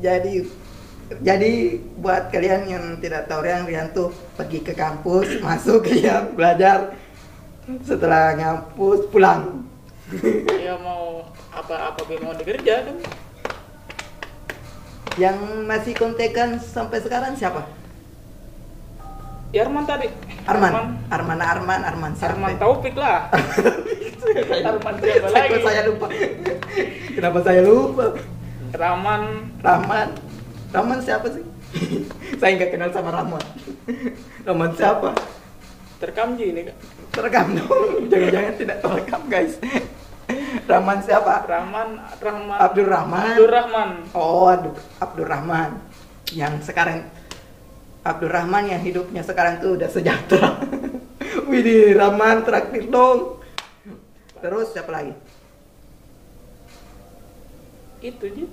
jadi jadi buat kalian yang tidak tahu Rian, Rian tuh pergi ke kampus, masuk ya belajar setelah ngampus pulang. ya mau apa apa mau dikerja kan Yang masih kontekan sampai sekarang siapa? ya Arman tadi Arman, Arman, Arman, Arman, Arman, siapa? Arman Taufik lah Arman siapa lagi? Kenapa saya lupa? Kenapa saya lupa? Raman Rahman, Rahman siapa sih? saya nggak kenal sama Rahman. Rahman siapa? terkamji ini Kak. Terekam dong, jangan-jangan tidak terekam guys. Rahman siapa? Rahman Rahman Abdurrahman. Abdurrahman Oh, Abdu- Abdurrahman. Yang sekarang Abdurrahman yang hidupnya sekarang tuh udah sejahtera. Widih, Rahman traktir dong. Terus siapa lagi? itu Ji.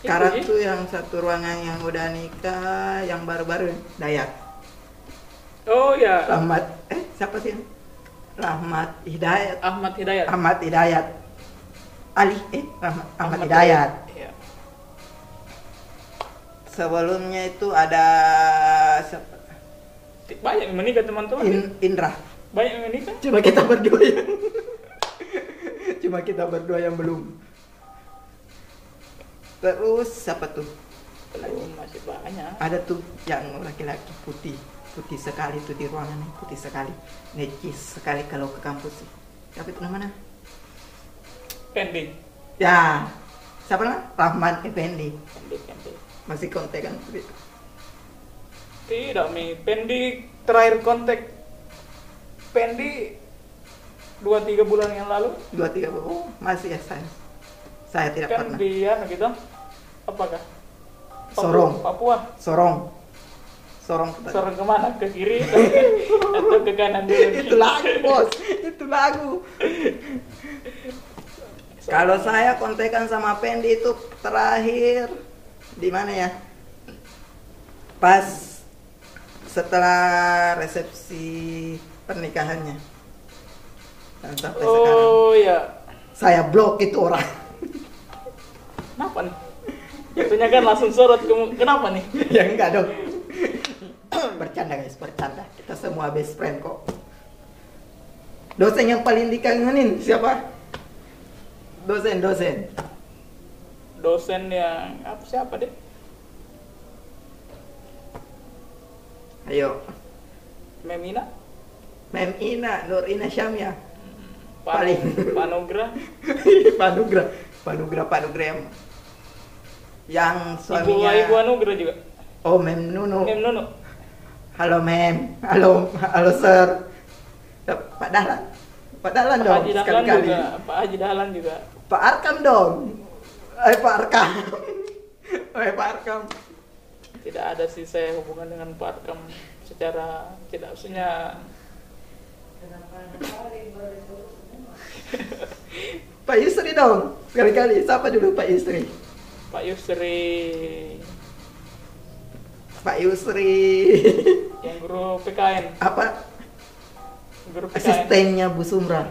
Sekarang Itu, Ji. tuh yang satu ruangan yang udah nikah, yang baru-baru Dayat. oh ya Rahmat, eh siapa sih? yang- Rahmat Hidayat. Ahmad Hidayat Ahmad Hidayat. Ali, eh Rahmat, Ahmad Ahmad Hidayat. Iya. Sebelumnya itu ada siapa? banyak yang menikah teman-teman In- Indra. banyak yang menikah Cuma kita berdua yang Cuma kita berdua yang belum Terus siapa tuh? belum masih banyak Ada tuh yang laki-laki putih Putih sekali tuh di ruangannya Putih sekali Necis sekali kalau ke kampus Siapa itu namanya? pending Ya Siapa namanya? Rahman Effendi pending pending Masih kontak kan? tidak mi pendi terakhir kontak pendi dua tiga bulan yang lalu Dua tiga Oh masih ya saya Saya tidak Iya, kan pernah di anu gitu apakah Papua, Sorong. Papua Sorong Sorong Kota- sorong kemana ke kiri atau ke, atau ke kanan dulu itu lagu bos itu lagu kalau saya kontekan sama Pendi itu terakhir di mana ya pas setelah resepsi pernikahannya dan sampai sekarang oh ya saya blok itu orang kenapa nih Biasanya kan langsung sorot ke- kenapa nih ya enggak dong bercanda guys bercanda kita semua best friend kok dosen yang paling dikangenin siapa dosen dosen dosen yang apa siapa deh ayo Memina Mem Ina, Nur Ina Syamia, Panu, Paling. Anu- Panugra Panugra, Panugra, Panugra yang, yang Ibu suaminya. Ibu Anugra juga Oh Mem Nunu, Mem Nunu halo Mem, halo, halo Sir, Pak Dahlan, Pak Dahlan Kan Pak dong Haji sekali Dahlan kali. juga Pak Haji Dahlan juga Pak Arkam dong, eh Pak Arkam, eh Pak Arkam, tidak ada sih saya hubungan dengan Pak Arkam secara tidak maksudnya Pak Yusri dong sekali kali. Siapa dulu Pak Yusri? Pak Yusri Pak Yusri yang guru PKN apa guru PKN asistennya Bu Sumra?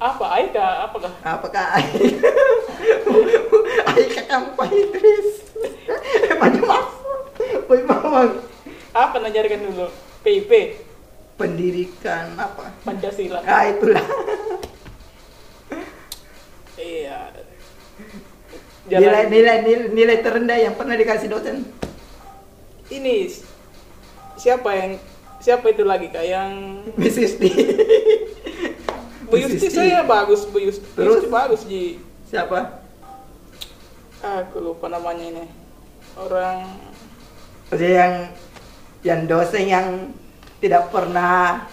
apa Aika apakah Apakah Aika kamu Pak Idris? Emangnya maksud? Boy Mawang apa najarkan dulu PIP Pendidikan apa? Pancasila Ah itulah iya nilai, Jalan- nilai, nilai, nilai terendah yang pernah dikasih dosen ini siapa yang siapa itu lagi kak yang Mrs. D Bu Yusti Mrs. D. saya bagus Bu Yusti Terus? Yusti bagus Ji Siapa? aku lupa namanya ini orang Maksudnya yang yang dosen yang tidak pernah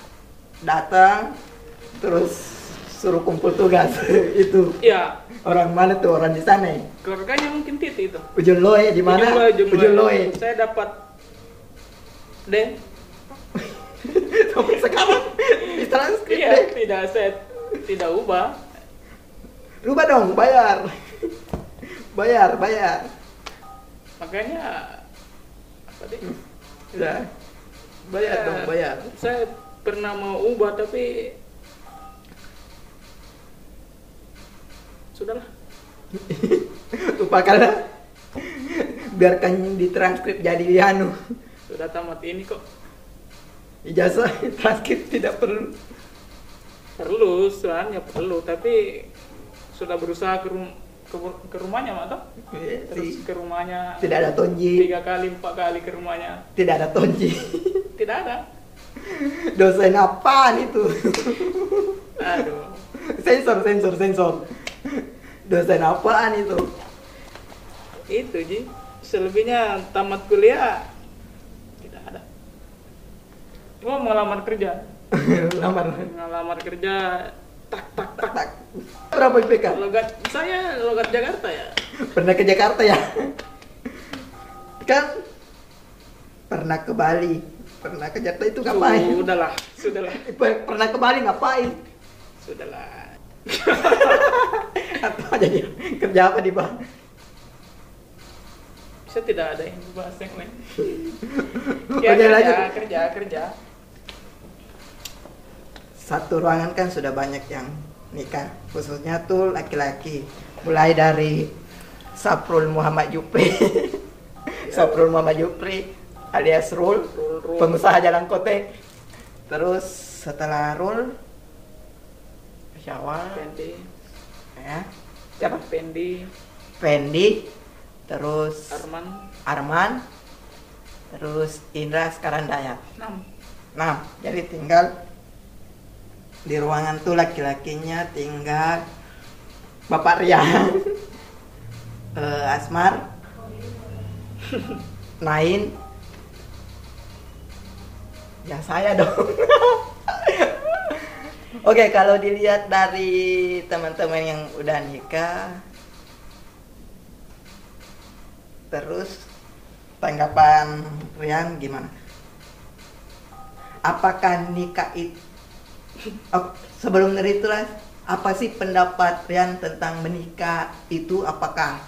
datang terus suruh kumpul tugas itu ya orang mana tuh orang di sana ya? keluarganya mungkin Titi itu Ujung Loe di mana? Ujung Loe, Ujung Loe. Ujung Loe. Saya dapat D. Sampai sekarang di transkrip Iya, deh. tidak saya tidak ubah. Rubah dong, bayar. bayar, bayar. Makanya apa deh? Ya. Bayar Saya- dong, bayar. Saya pernah mau ubah tapi sudahlah. Lupakan lah. Biarkan ditranskrip jadi anu. Sudah tamat ini kok Ijazah transkrip tidak perlu. perlu, sebenarnya perlu, tapi sudah berusaha ke, rum- ke, ke rumahnya mak toh? Iya Terus Iya. sih. ke rumahnya Tidak ada tonji, tiga kali empat kali ke rumahnya tidak ada tonji. tidak ada. Dosen apaan itu? Aduh. sensor sensor sensor dosen apaan itu itu ji selebihnya tamat kuliah tidak ada cuma mau ngelamar kerja lamar ngelamar kerja tak tak tak, tak tak berapa IPK logat saya logat Jakarta ya pernah ke Jakarta ya kan pernah ke Bali pernah ke Jakarta itu ngapain sudahlah sudahlah Per- pernah ke Bali ngapain sudahlah atau jadi kerja apa di Bali saya tidak ada yang bahas yang lain ya, Oke, kerja, lanjut. kerja kerja satu ruangan kan sudah banyak yang nikah khususnya tuh laki-laki mulai dari Saprul Muhammad Jupri Saprul Muhammad Jupri alias Rul Rul, Rul. pengusaha jalan kote terus setelah Rul Syawal pendi ya siapa pendi Fendi terus Arman Arman terus Indra sekarang Dayat enam Nah, jadi tinggal di ruangan tuh laki-lakinya tinggal Bapak Ria, Eh, Asmar, Nain, ya saya dong. Oke, kalau dilihat dari teman-teman yang udah nikah, terus tanggapan Rian gimana? apakah nikah itu sebelum dari itu lah apa sih pendapat Rian tentang menikah itu apakah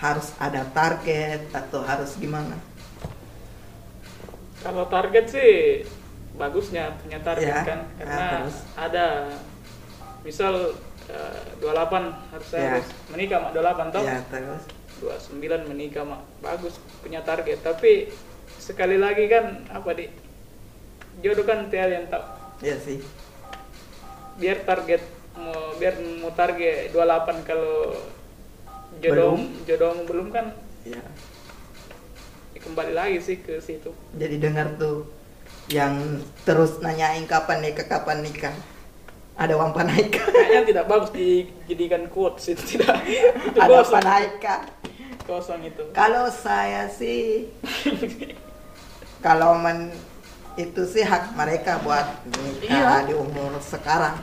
harus ada target atau harus gimana Kalau target sih bagusnya punya target Ya, kan ya, karena terus. ada misal eh, 28 harus saya Ya. harus menikah mak 28 toh. ya terus 29 menikah mak bagus punya target tapi sekali lagi kan apa di jodoh kan tiada yang tahu ya sih biar target mau biar mau target 28 kalau jodoh Belum. jodoh belum kan ya ya kembali lagi sih ke situ jadi dengar tuh yang terus nanyain kapan nikah kapan nikah ada wampa naika kayaknya tidak bagus dijadikan quotes itu tidak itu ada wampa kosong naika kosong itu Kalau saya sih, kalau men itu sih hak mereka buat menikah Iya. di umur sekarang.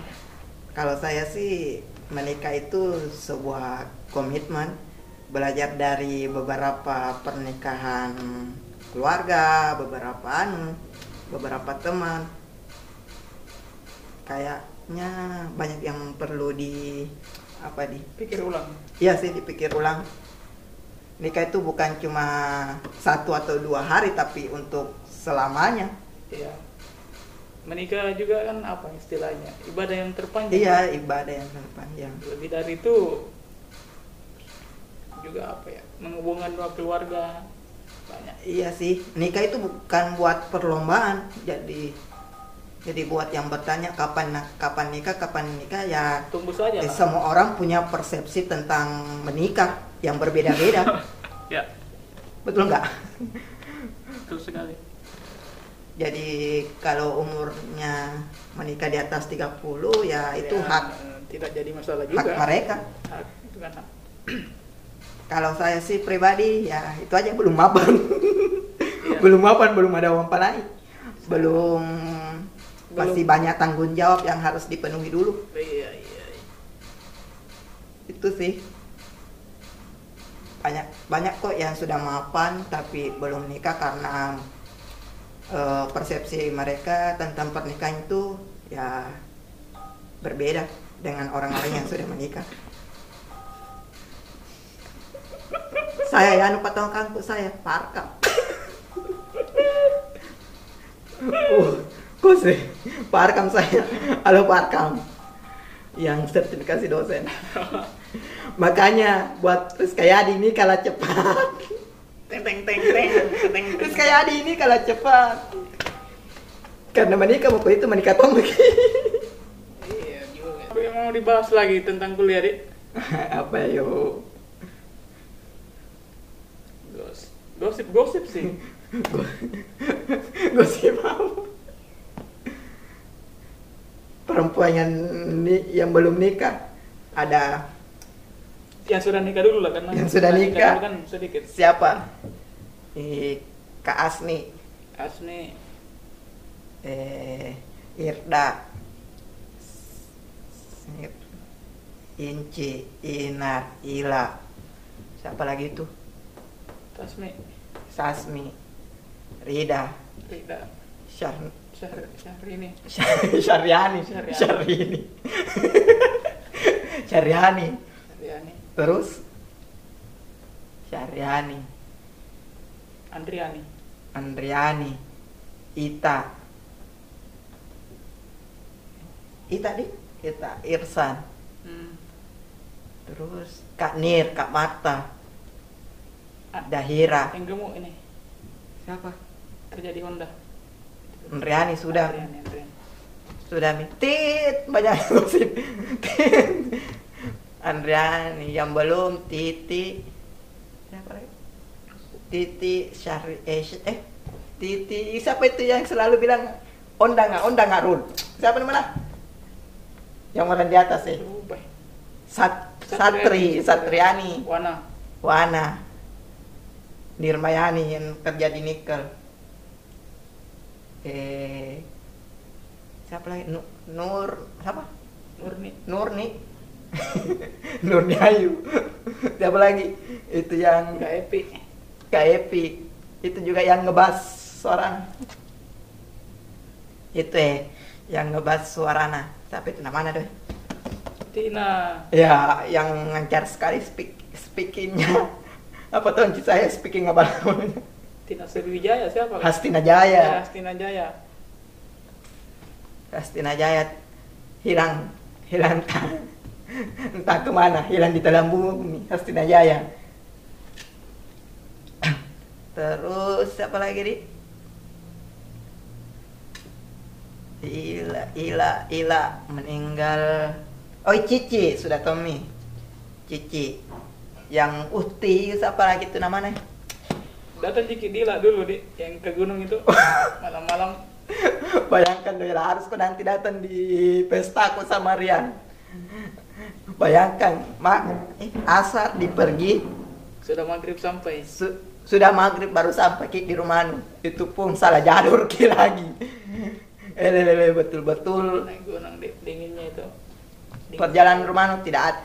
Kalau saya sih menikah itu sebuah komitmen belajar dari beberapa pernikahan keluarga, beberapa anu, beberapa teman. Kayaknya banyak yang perlu di apa di pikir ulang Iya sih dipikir ulang. Nikah itu bukan cuma satu atau dua hari tapi untuk selamanya. iya menikah juga kan apa istilahnya ibadah yang terpanjang Iya ibadah yang terpanjang. lebih dari itu juga apa ya menghubungkan dua keluarga banyak Iya sih nikah itu bukan buat perlombaan. Jadi jadi buat yang bertanya kapan kapan nikah kapan nikah ya tunggu saja eh, lah. semua orang punya persepsi tentang menikah yang berbeda-beda. ya Betul nggak? betul sekali Jadi kalau umurnya menikah di atas 30 ya itu Ya, hak tidak jadi hak masalah juga mereka. Hak, itu kan hak. Kalau saya sih pribadi ya itu aja belum mapan. Iya. belum mapan, belum ada uang lain. Belum, Belum. masih banyak tanggung jawab yang harus dipenuhi dulu. iya iya iya. Itu sih. Banyak banyak kok yang sudah mapan tapi belum nikah karena eh, persepsi mereka tentang pernikahan itu ya berbeda dengan orang-orang yang sudah menikah. saya ya lupa tahu kangku saya parka. uh, kok sih parkam saya halo parkam yang sertifikasi dosen. iya. Makanya buat Rizka Yadi ini kalah cepat. teng teng teng teng teng teng Rizka Yadi ini kalah cepat. Karena menikah waktu itu menikah tombak. iya juga tapi mau dibahas lagi tentang kuliah dik Apa yo? Gos- gosip gosip sih Gosip apa? Perempuan yang ni- yang belum nikah ada yang sudah nikah dulu lah karena Yang sudah nikah. dulu kan sedikit siapa? Eh, Kak Asni, Asni eh, Irda, Inci, Inar, Ila, siapa lagi itu? Tasmi Sasmi, Rida, tidak Syar Syahri, Syahri ini Syar- Syariani, Syariani. Syariani, Syariani, Syahriani terus Syariani, Andriani Andriani, Ita, Ita di, Ita, Irsan, hmm. terus Kak Nir, Kak Marta, Ah, Dahira, yang gemuk ini siapa? kerja di Honda Andriani sudah. Andriani, Andriani. sudah mi- tit banyak gosip tit Andriani yang belum Titi siapa lagi Titi Syahri eh, Sy- eh Titi siapa itu yang selalu bilang onda nggak onda nggak Rul siapa namanya yang orang di atas eh Berubah. Sat, Satri Satriani Wana Wana Nirmayani yang kerja di nikel eh siapa lagi Nu- Nur siapa Murni Nurni Nurni Ayu siapa lagi itu yang Kak Epi Kak Epi itu juga yang ngebas suarana itu eh yang ngebas suarana siapa itu namanya doi Tina ya yang lancar sekali speak, speakingnya apa tuh anci saya speaking apa namanya Tina Sriwijaya siapa Kak? Hastina Ya, Jaya Hastina Jaya Hastina Jaya hilang hilang entah, entah kemana hilang di dalam bumi Hastina Jaya terus siapa lagi di Ila, Ila, Ila meninggal. Oh Cici sudah Tommy. Cici yang Uti siapa lagi itu namanya? datang Jiki Dila dulu di yang ke gunung itu malam-malam Bayangkan Doyla harus kau nanti datang di pesta aku sama Rian. Bayangkan, mak eh, asar dipergi sudah maghrib sampai su- sudah maghrib baru sampai Ki, di rumah anu. Itu pun salah jalur ki lagi. Eh, Elelele betul-betul naik gunung di dinginnya itu Dingin. perjalanan rumah anu tidak ad-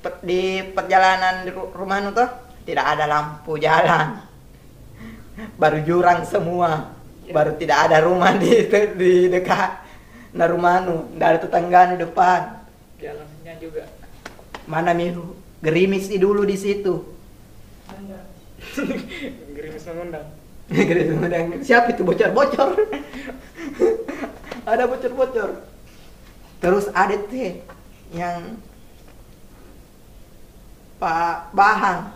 per- di perjalanan di ru- rumah anu tuh tidak ada lampu jalan. Baru jurang semua. Baru tidak ada rumah di di dekat nah rumah anu, tidak ada tetangga anu depan. jalannya juga Mana mi gerimis di dulu di situ. gerimis mengundang Gerimis mengundang. Siapa itu bocor-bocor? ada bocor-bocor. Terus ada teh yang Pak Bahang.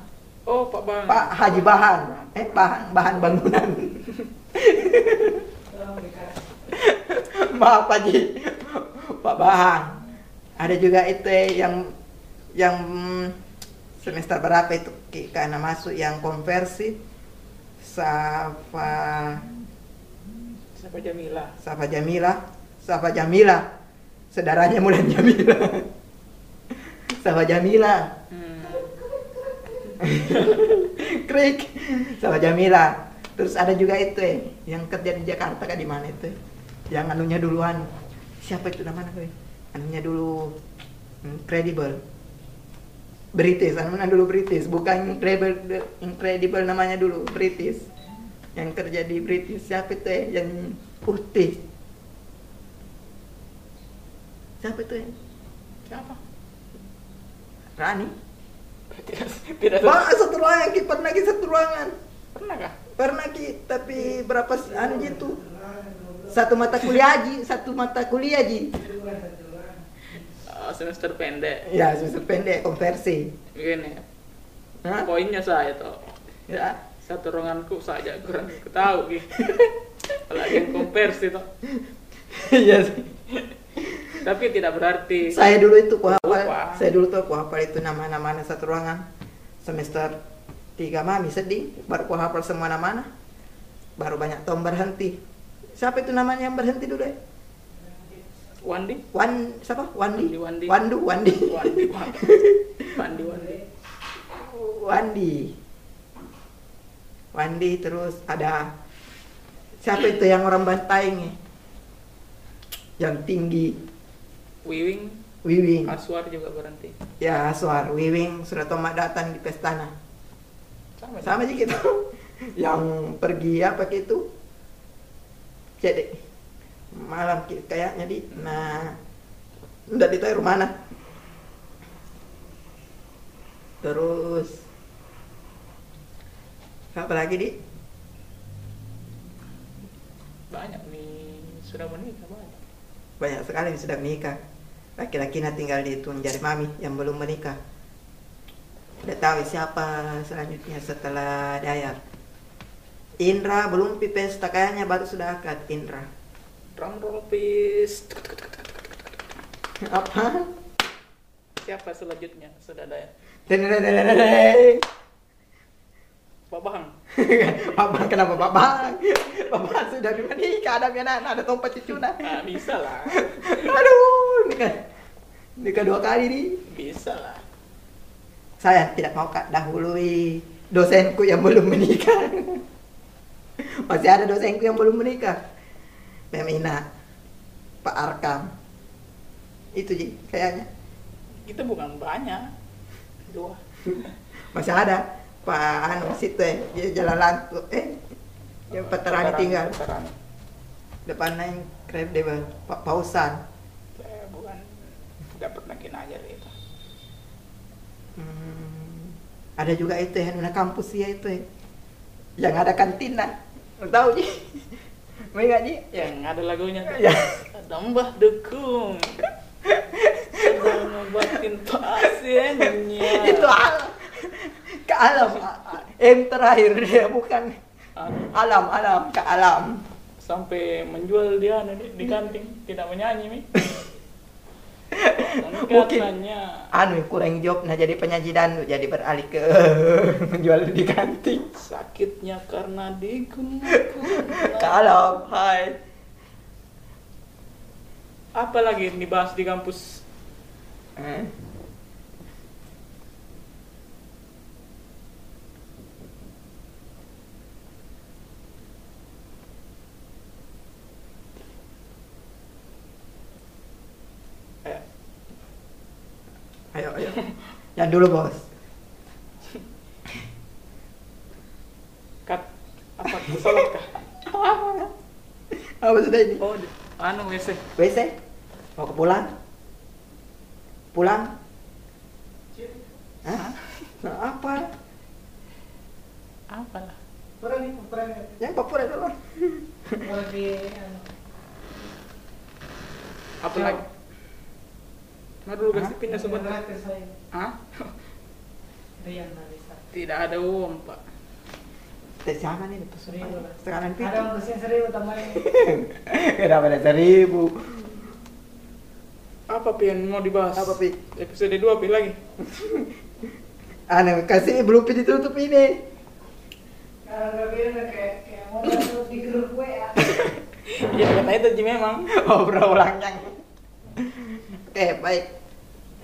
oh Pak Bang Pak Haji Bahan, eh bahan bahan bangunan. Maaf Pak Haji, Pak Bahan. Ada juga itu yang yang semester berapa itu Ki? karena masuk yang konversi Safa siapa Jamila Safa Jamila, Safa Jamila, saudaranya Mulan Jamila, Safa Jamila. hmm. Krik sama Jamila. Terus ada juga itu eh, yang kerja di Jakarta kan di mana itu? eh? Yang anunya duluan. Siapa itu namanya? Eh? Anunya dulu hmm, Incredible. British, anunya dulu British, bukan Incredible, Incredible namanya dulu British. Yang kerja di British siapa itu eh? Yang putih. Siapa itu eh? siapa Rani. tidak tidak Wah, satu ruangan, Ki. pernah lagi satu ruangan. pernah kah pernah ki tapi berapa s- anu gitu satu mata kuliah ji satu mata kuliah ji oh, semester pendek ya semester pendek konversi begini Hah? poinnya saya tuh ya satu ruanganku saja kurang aku tahu gitu apalagi yang konversi tuh Iya sih. tapi tidak berarti saya dulu itu ku hafal Lupa. saya dulu tuh ku hafal itu nama-nama anak satu ruangan semester tiga mami sedih baru ku hafal semua nama baru banyak tom berhenti siapa itu namanya yang berhenti dulu ya? Wandi Wan siapa Wandi Wandi, Wandi. Wandu Wandi Wandi Wandi Wandi Wandi Wandi Wandi terus ada siapa itu yang orang bantaing ya? yang tinggi Wiwing Wiwing Aswar juga berhenti ya Aswar Wiwing sudah tomat datang di pestana sama, juga. sama aja gitu yang pergi apa gitu jadi malam ki- kayaknya di nah udah ditaruh mana terus apa lagi di banyak nih sudah menikah banyak banyak sekali yang sudah menikah laki-laki nah tinggal dihitung jari mami yang belum menikah udah tahu siapa selanjutnya setelah Dayar Indra belum pipes tak kayaknya baru sudah akad Indra drum roll please apa siapa selanjutnya sudah ada ya Teneneneneneneng. Pak Bang Abang kenapa babang? Babang sudah menikah ada punya anak ada tompat cucuna. ah, bisa lah Aduh, nikah nikah dua kali nih. bisa lah saya tidak mau kak dahului dosenku yang belum menikah masih ada dosenku yang belum menikah Memina Pak Arkam itu Ji, kayaknya kita bukan banyak dua masih ada Pak Anu situ eh dia jalan lantu eh dia Oh, peterani tinggal veteran depannya yang krep dia Bang. Pak Pausan saya Ya, bukan tidak pernah kena aja itu Hmm, ada juga itu ya, anak kampus ya itu ya. yang ada kantina Lu tahu Ji? mau ingat Ji? yang ada lagunya tuh. Ya. tambah dukung sudah membuatin pasiennya itu alam ke alam M terakhir dia bukan Aduh, alam alam ke alam sampai menjual dia nanti di kanting tidak menyanyi mi Dan Mungkin. katanya anu kurang job nah jadi penyaji dangdut jadi beralih ke menjual di kantin sakitnya karena digunakan ke alam hai apa lagi yang dibahas di kampus Eh, eh, ayo ayo yang dulu bos kat apa salah kah apa sudah ini oh di- anu wc wc mau ke pulang pulang Hah? Nah, apa apa lah Kurang nih, kurang nih. yang papura dulu Kurang di anu. apa lagi Nah dulu kasih pindah sobat Neraka saya. Hah? Rian Marisa. Tidak ada uang pak Teh siapa nih Seribu lah. sekarang Ada pintu orang kesini seribu tambahin. kenapa ada seribu Apa Pi yang mau dibahas? Apa, Pi? Episode 2 Pi lagi Anu, kasih belum ditutup ini. Kalau nggak bilang kayak kayak mau masuk di grup WA. Iya kata itu Ji memang obrol ulang yang oke baik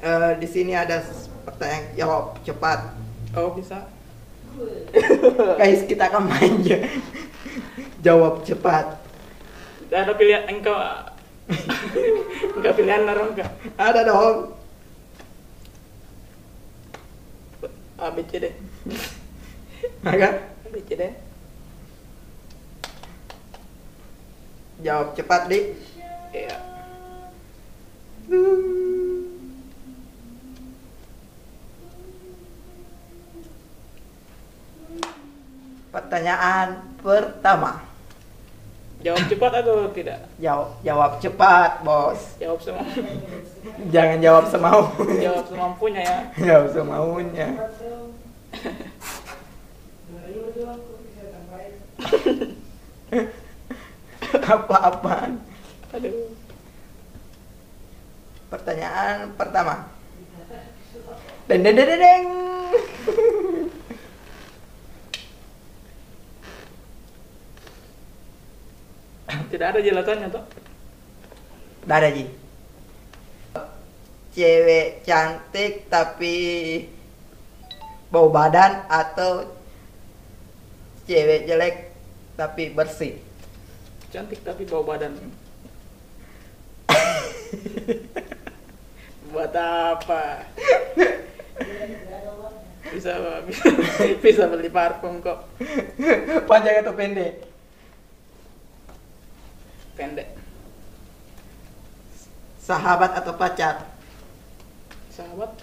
Eh, di sini ada pertanyaan jawab cepat Oh bisa guys kita akan main ya. jawab cepat Tidak ada pilihan engkau Enggak pilihan narong enggak ada dong A, B, C, D maka A, B, C, D jawab cepat dik Iya pertanyaan pertama Jawab cepat atau tidak? Jawab, jawab cepat, bos. Jawab semampunya. Jangan jawab semau. jawab semampunya ya. jawab semaunya. Apa-apaan. Aduh. Pertanyaan pertama. Deng deng deng deng, deng. Tidak ada jelasannya toh. Nggak ada Ji. Cewek cantik tapi bau badan atau cewek jelek tapi bersih. Cantik tapi bau badan. Buat apa? Bisa, bisa, bisa beli parfum kok. Panjang atau pendek? Pendek. Sahabat atau pacar? Sahabat.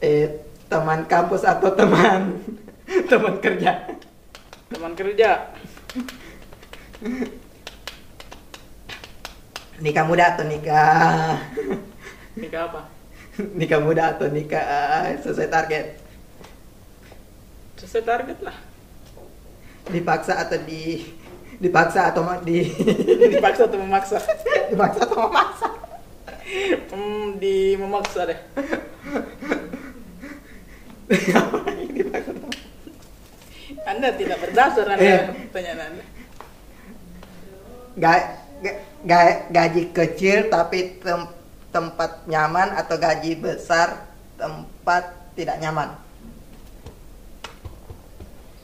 Eh, teman kampus atau teman teman kerja? Teman kerja. Nikah muda atau nikah Nikah apa? nikah muda atau nikah sesuai target? Sesuai target lah. Dipaksa atau di dipaksa atau ma- di Dipaksa atau memaksa? dipaksa atau memaksa? Hmm, di memaksa deh. Anda tidak berdasar Anda Eh. pertanyaan Anda. Ga- ga- ga- gaji kecil tapi tem- tempat nyaman atau gaji besar tempat tidak nyaman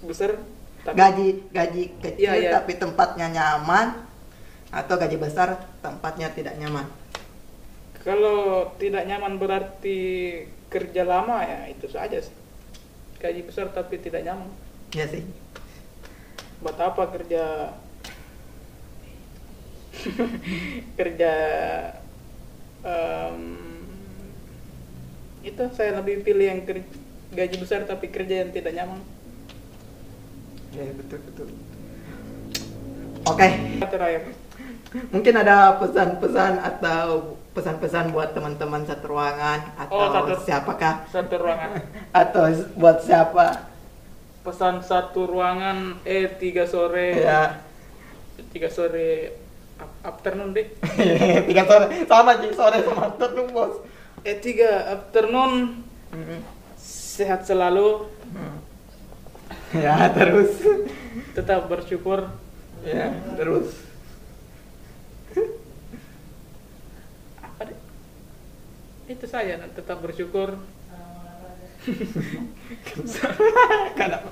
Besar tapi gaji gaji kecil Iya, iya. tapi tempatnya nyaman atau gaji besar tempatnya tidak nyaman kalau tidak nyaman berarti kerja lama ya itu saja sih. Gaji besar tapi tidak nyaman. ya sih Buat apa kerja kerja em, itu saya lebih pilih yang ker- gaji besar tapi kerja yang tidak nyaman. Iya, ya betul betul oke Terakhir. mungkin ada pesan-pesan atau pesan-pesan buat teman-teman satu ruangan atau Oh, satu. siapakah satu ruangan atau buat siapa pesan satu ruangan eh tiga sore ya tiga sore ap- afternoon deh tiga sore sama sih sore sama tuh bos Hmm. eh tiga afternoon sehat selalu ya terus tetap bersyukur ya terus apa deh itu saya nah, tetap bersyukur kenapa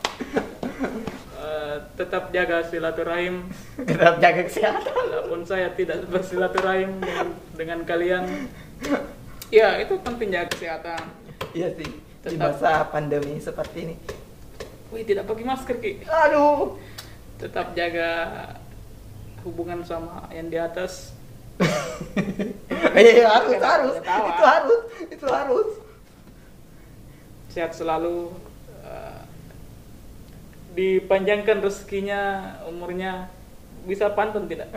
eh, tetap jaga silaturahim tetap jaga kesehatan walaupun saya tidak bersilaturahim dengan, dengan kalian ya itu penting jaga kesehatan iya sih di Tetap. masa pandemi seperti ini wih tidak pakai masker ki aduh tetap jaga hubungan sama yang di atas iya iya, harus harus Ketawa. itu harus itu harus sehat selalu eh, dipanjangkan rezekinya umurnya bisa pantun tidak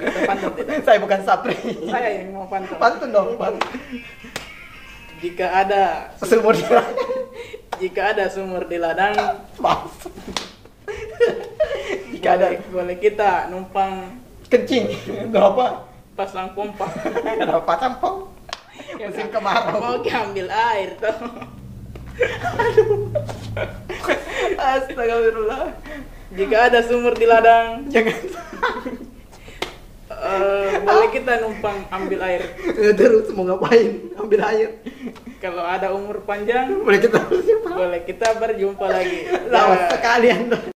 bisa pantun tidak saya bukan sapri saya yang mau pantun pantun dong pantun jika ada sumur di jika ada sumur di ladang Maaf. jika ada boleh, boleh kita numpang kencing berapa pasang pompa berapa tampon musim kemarau mau ambil air tuh astagfirullah jika ada sumur di ladang jangan eh, boleh kita numpang ambil air terus mau ngapain ambil air kalau ada umur panjang boleh kita boleh kita berjumpa lagi lawan Ya. sekalian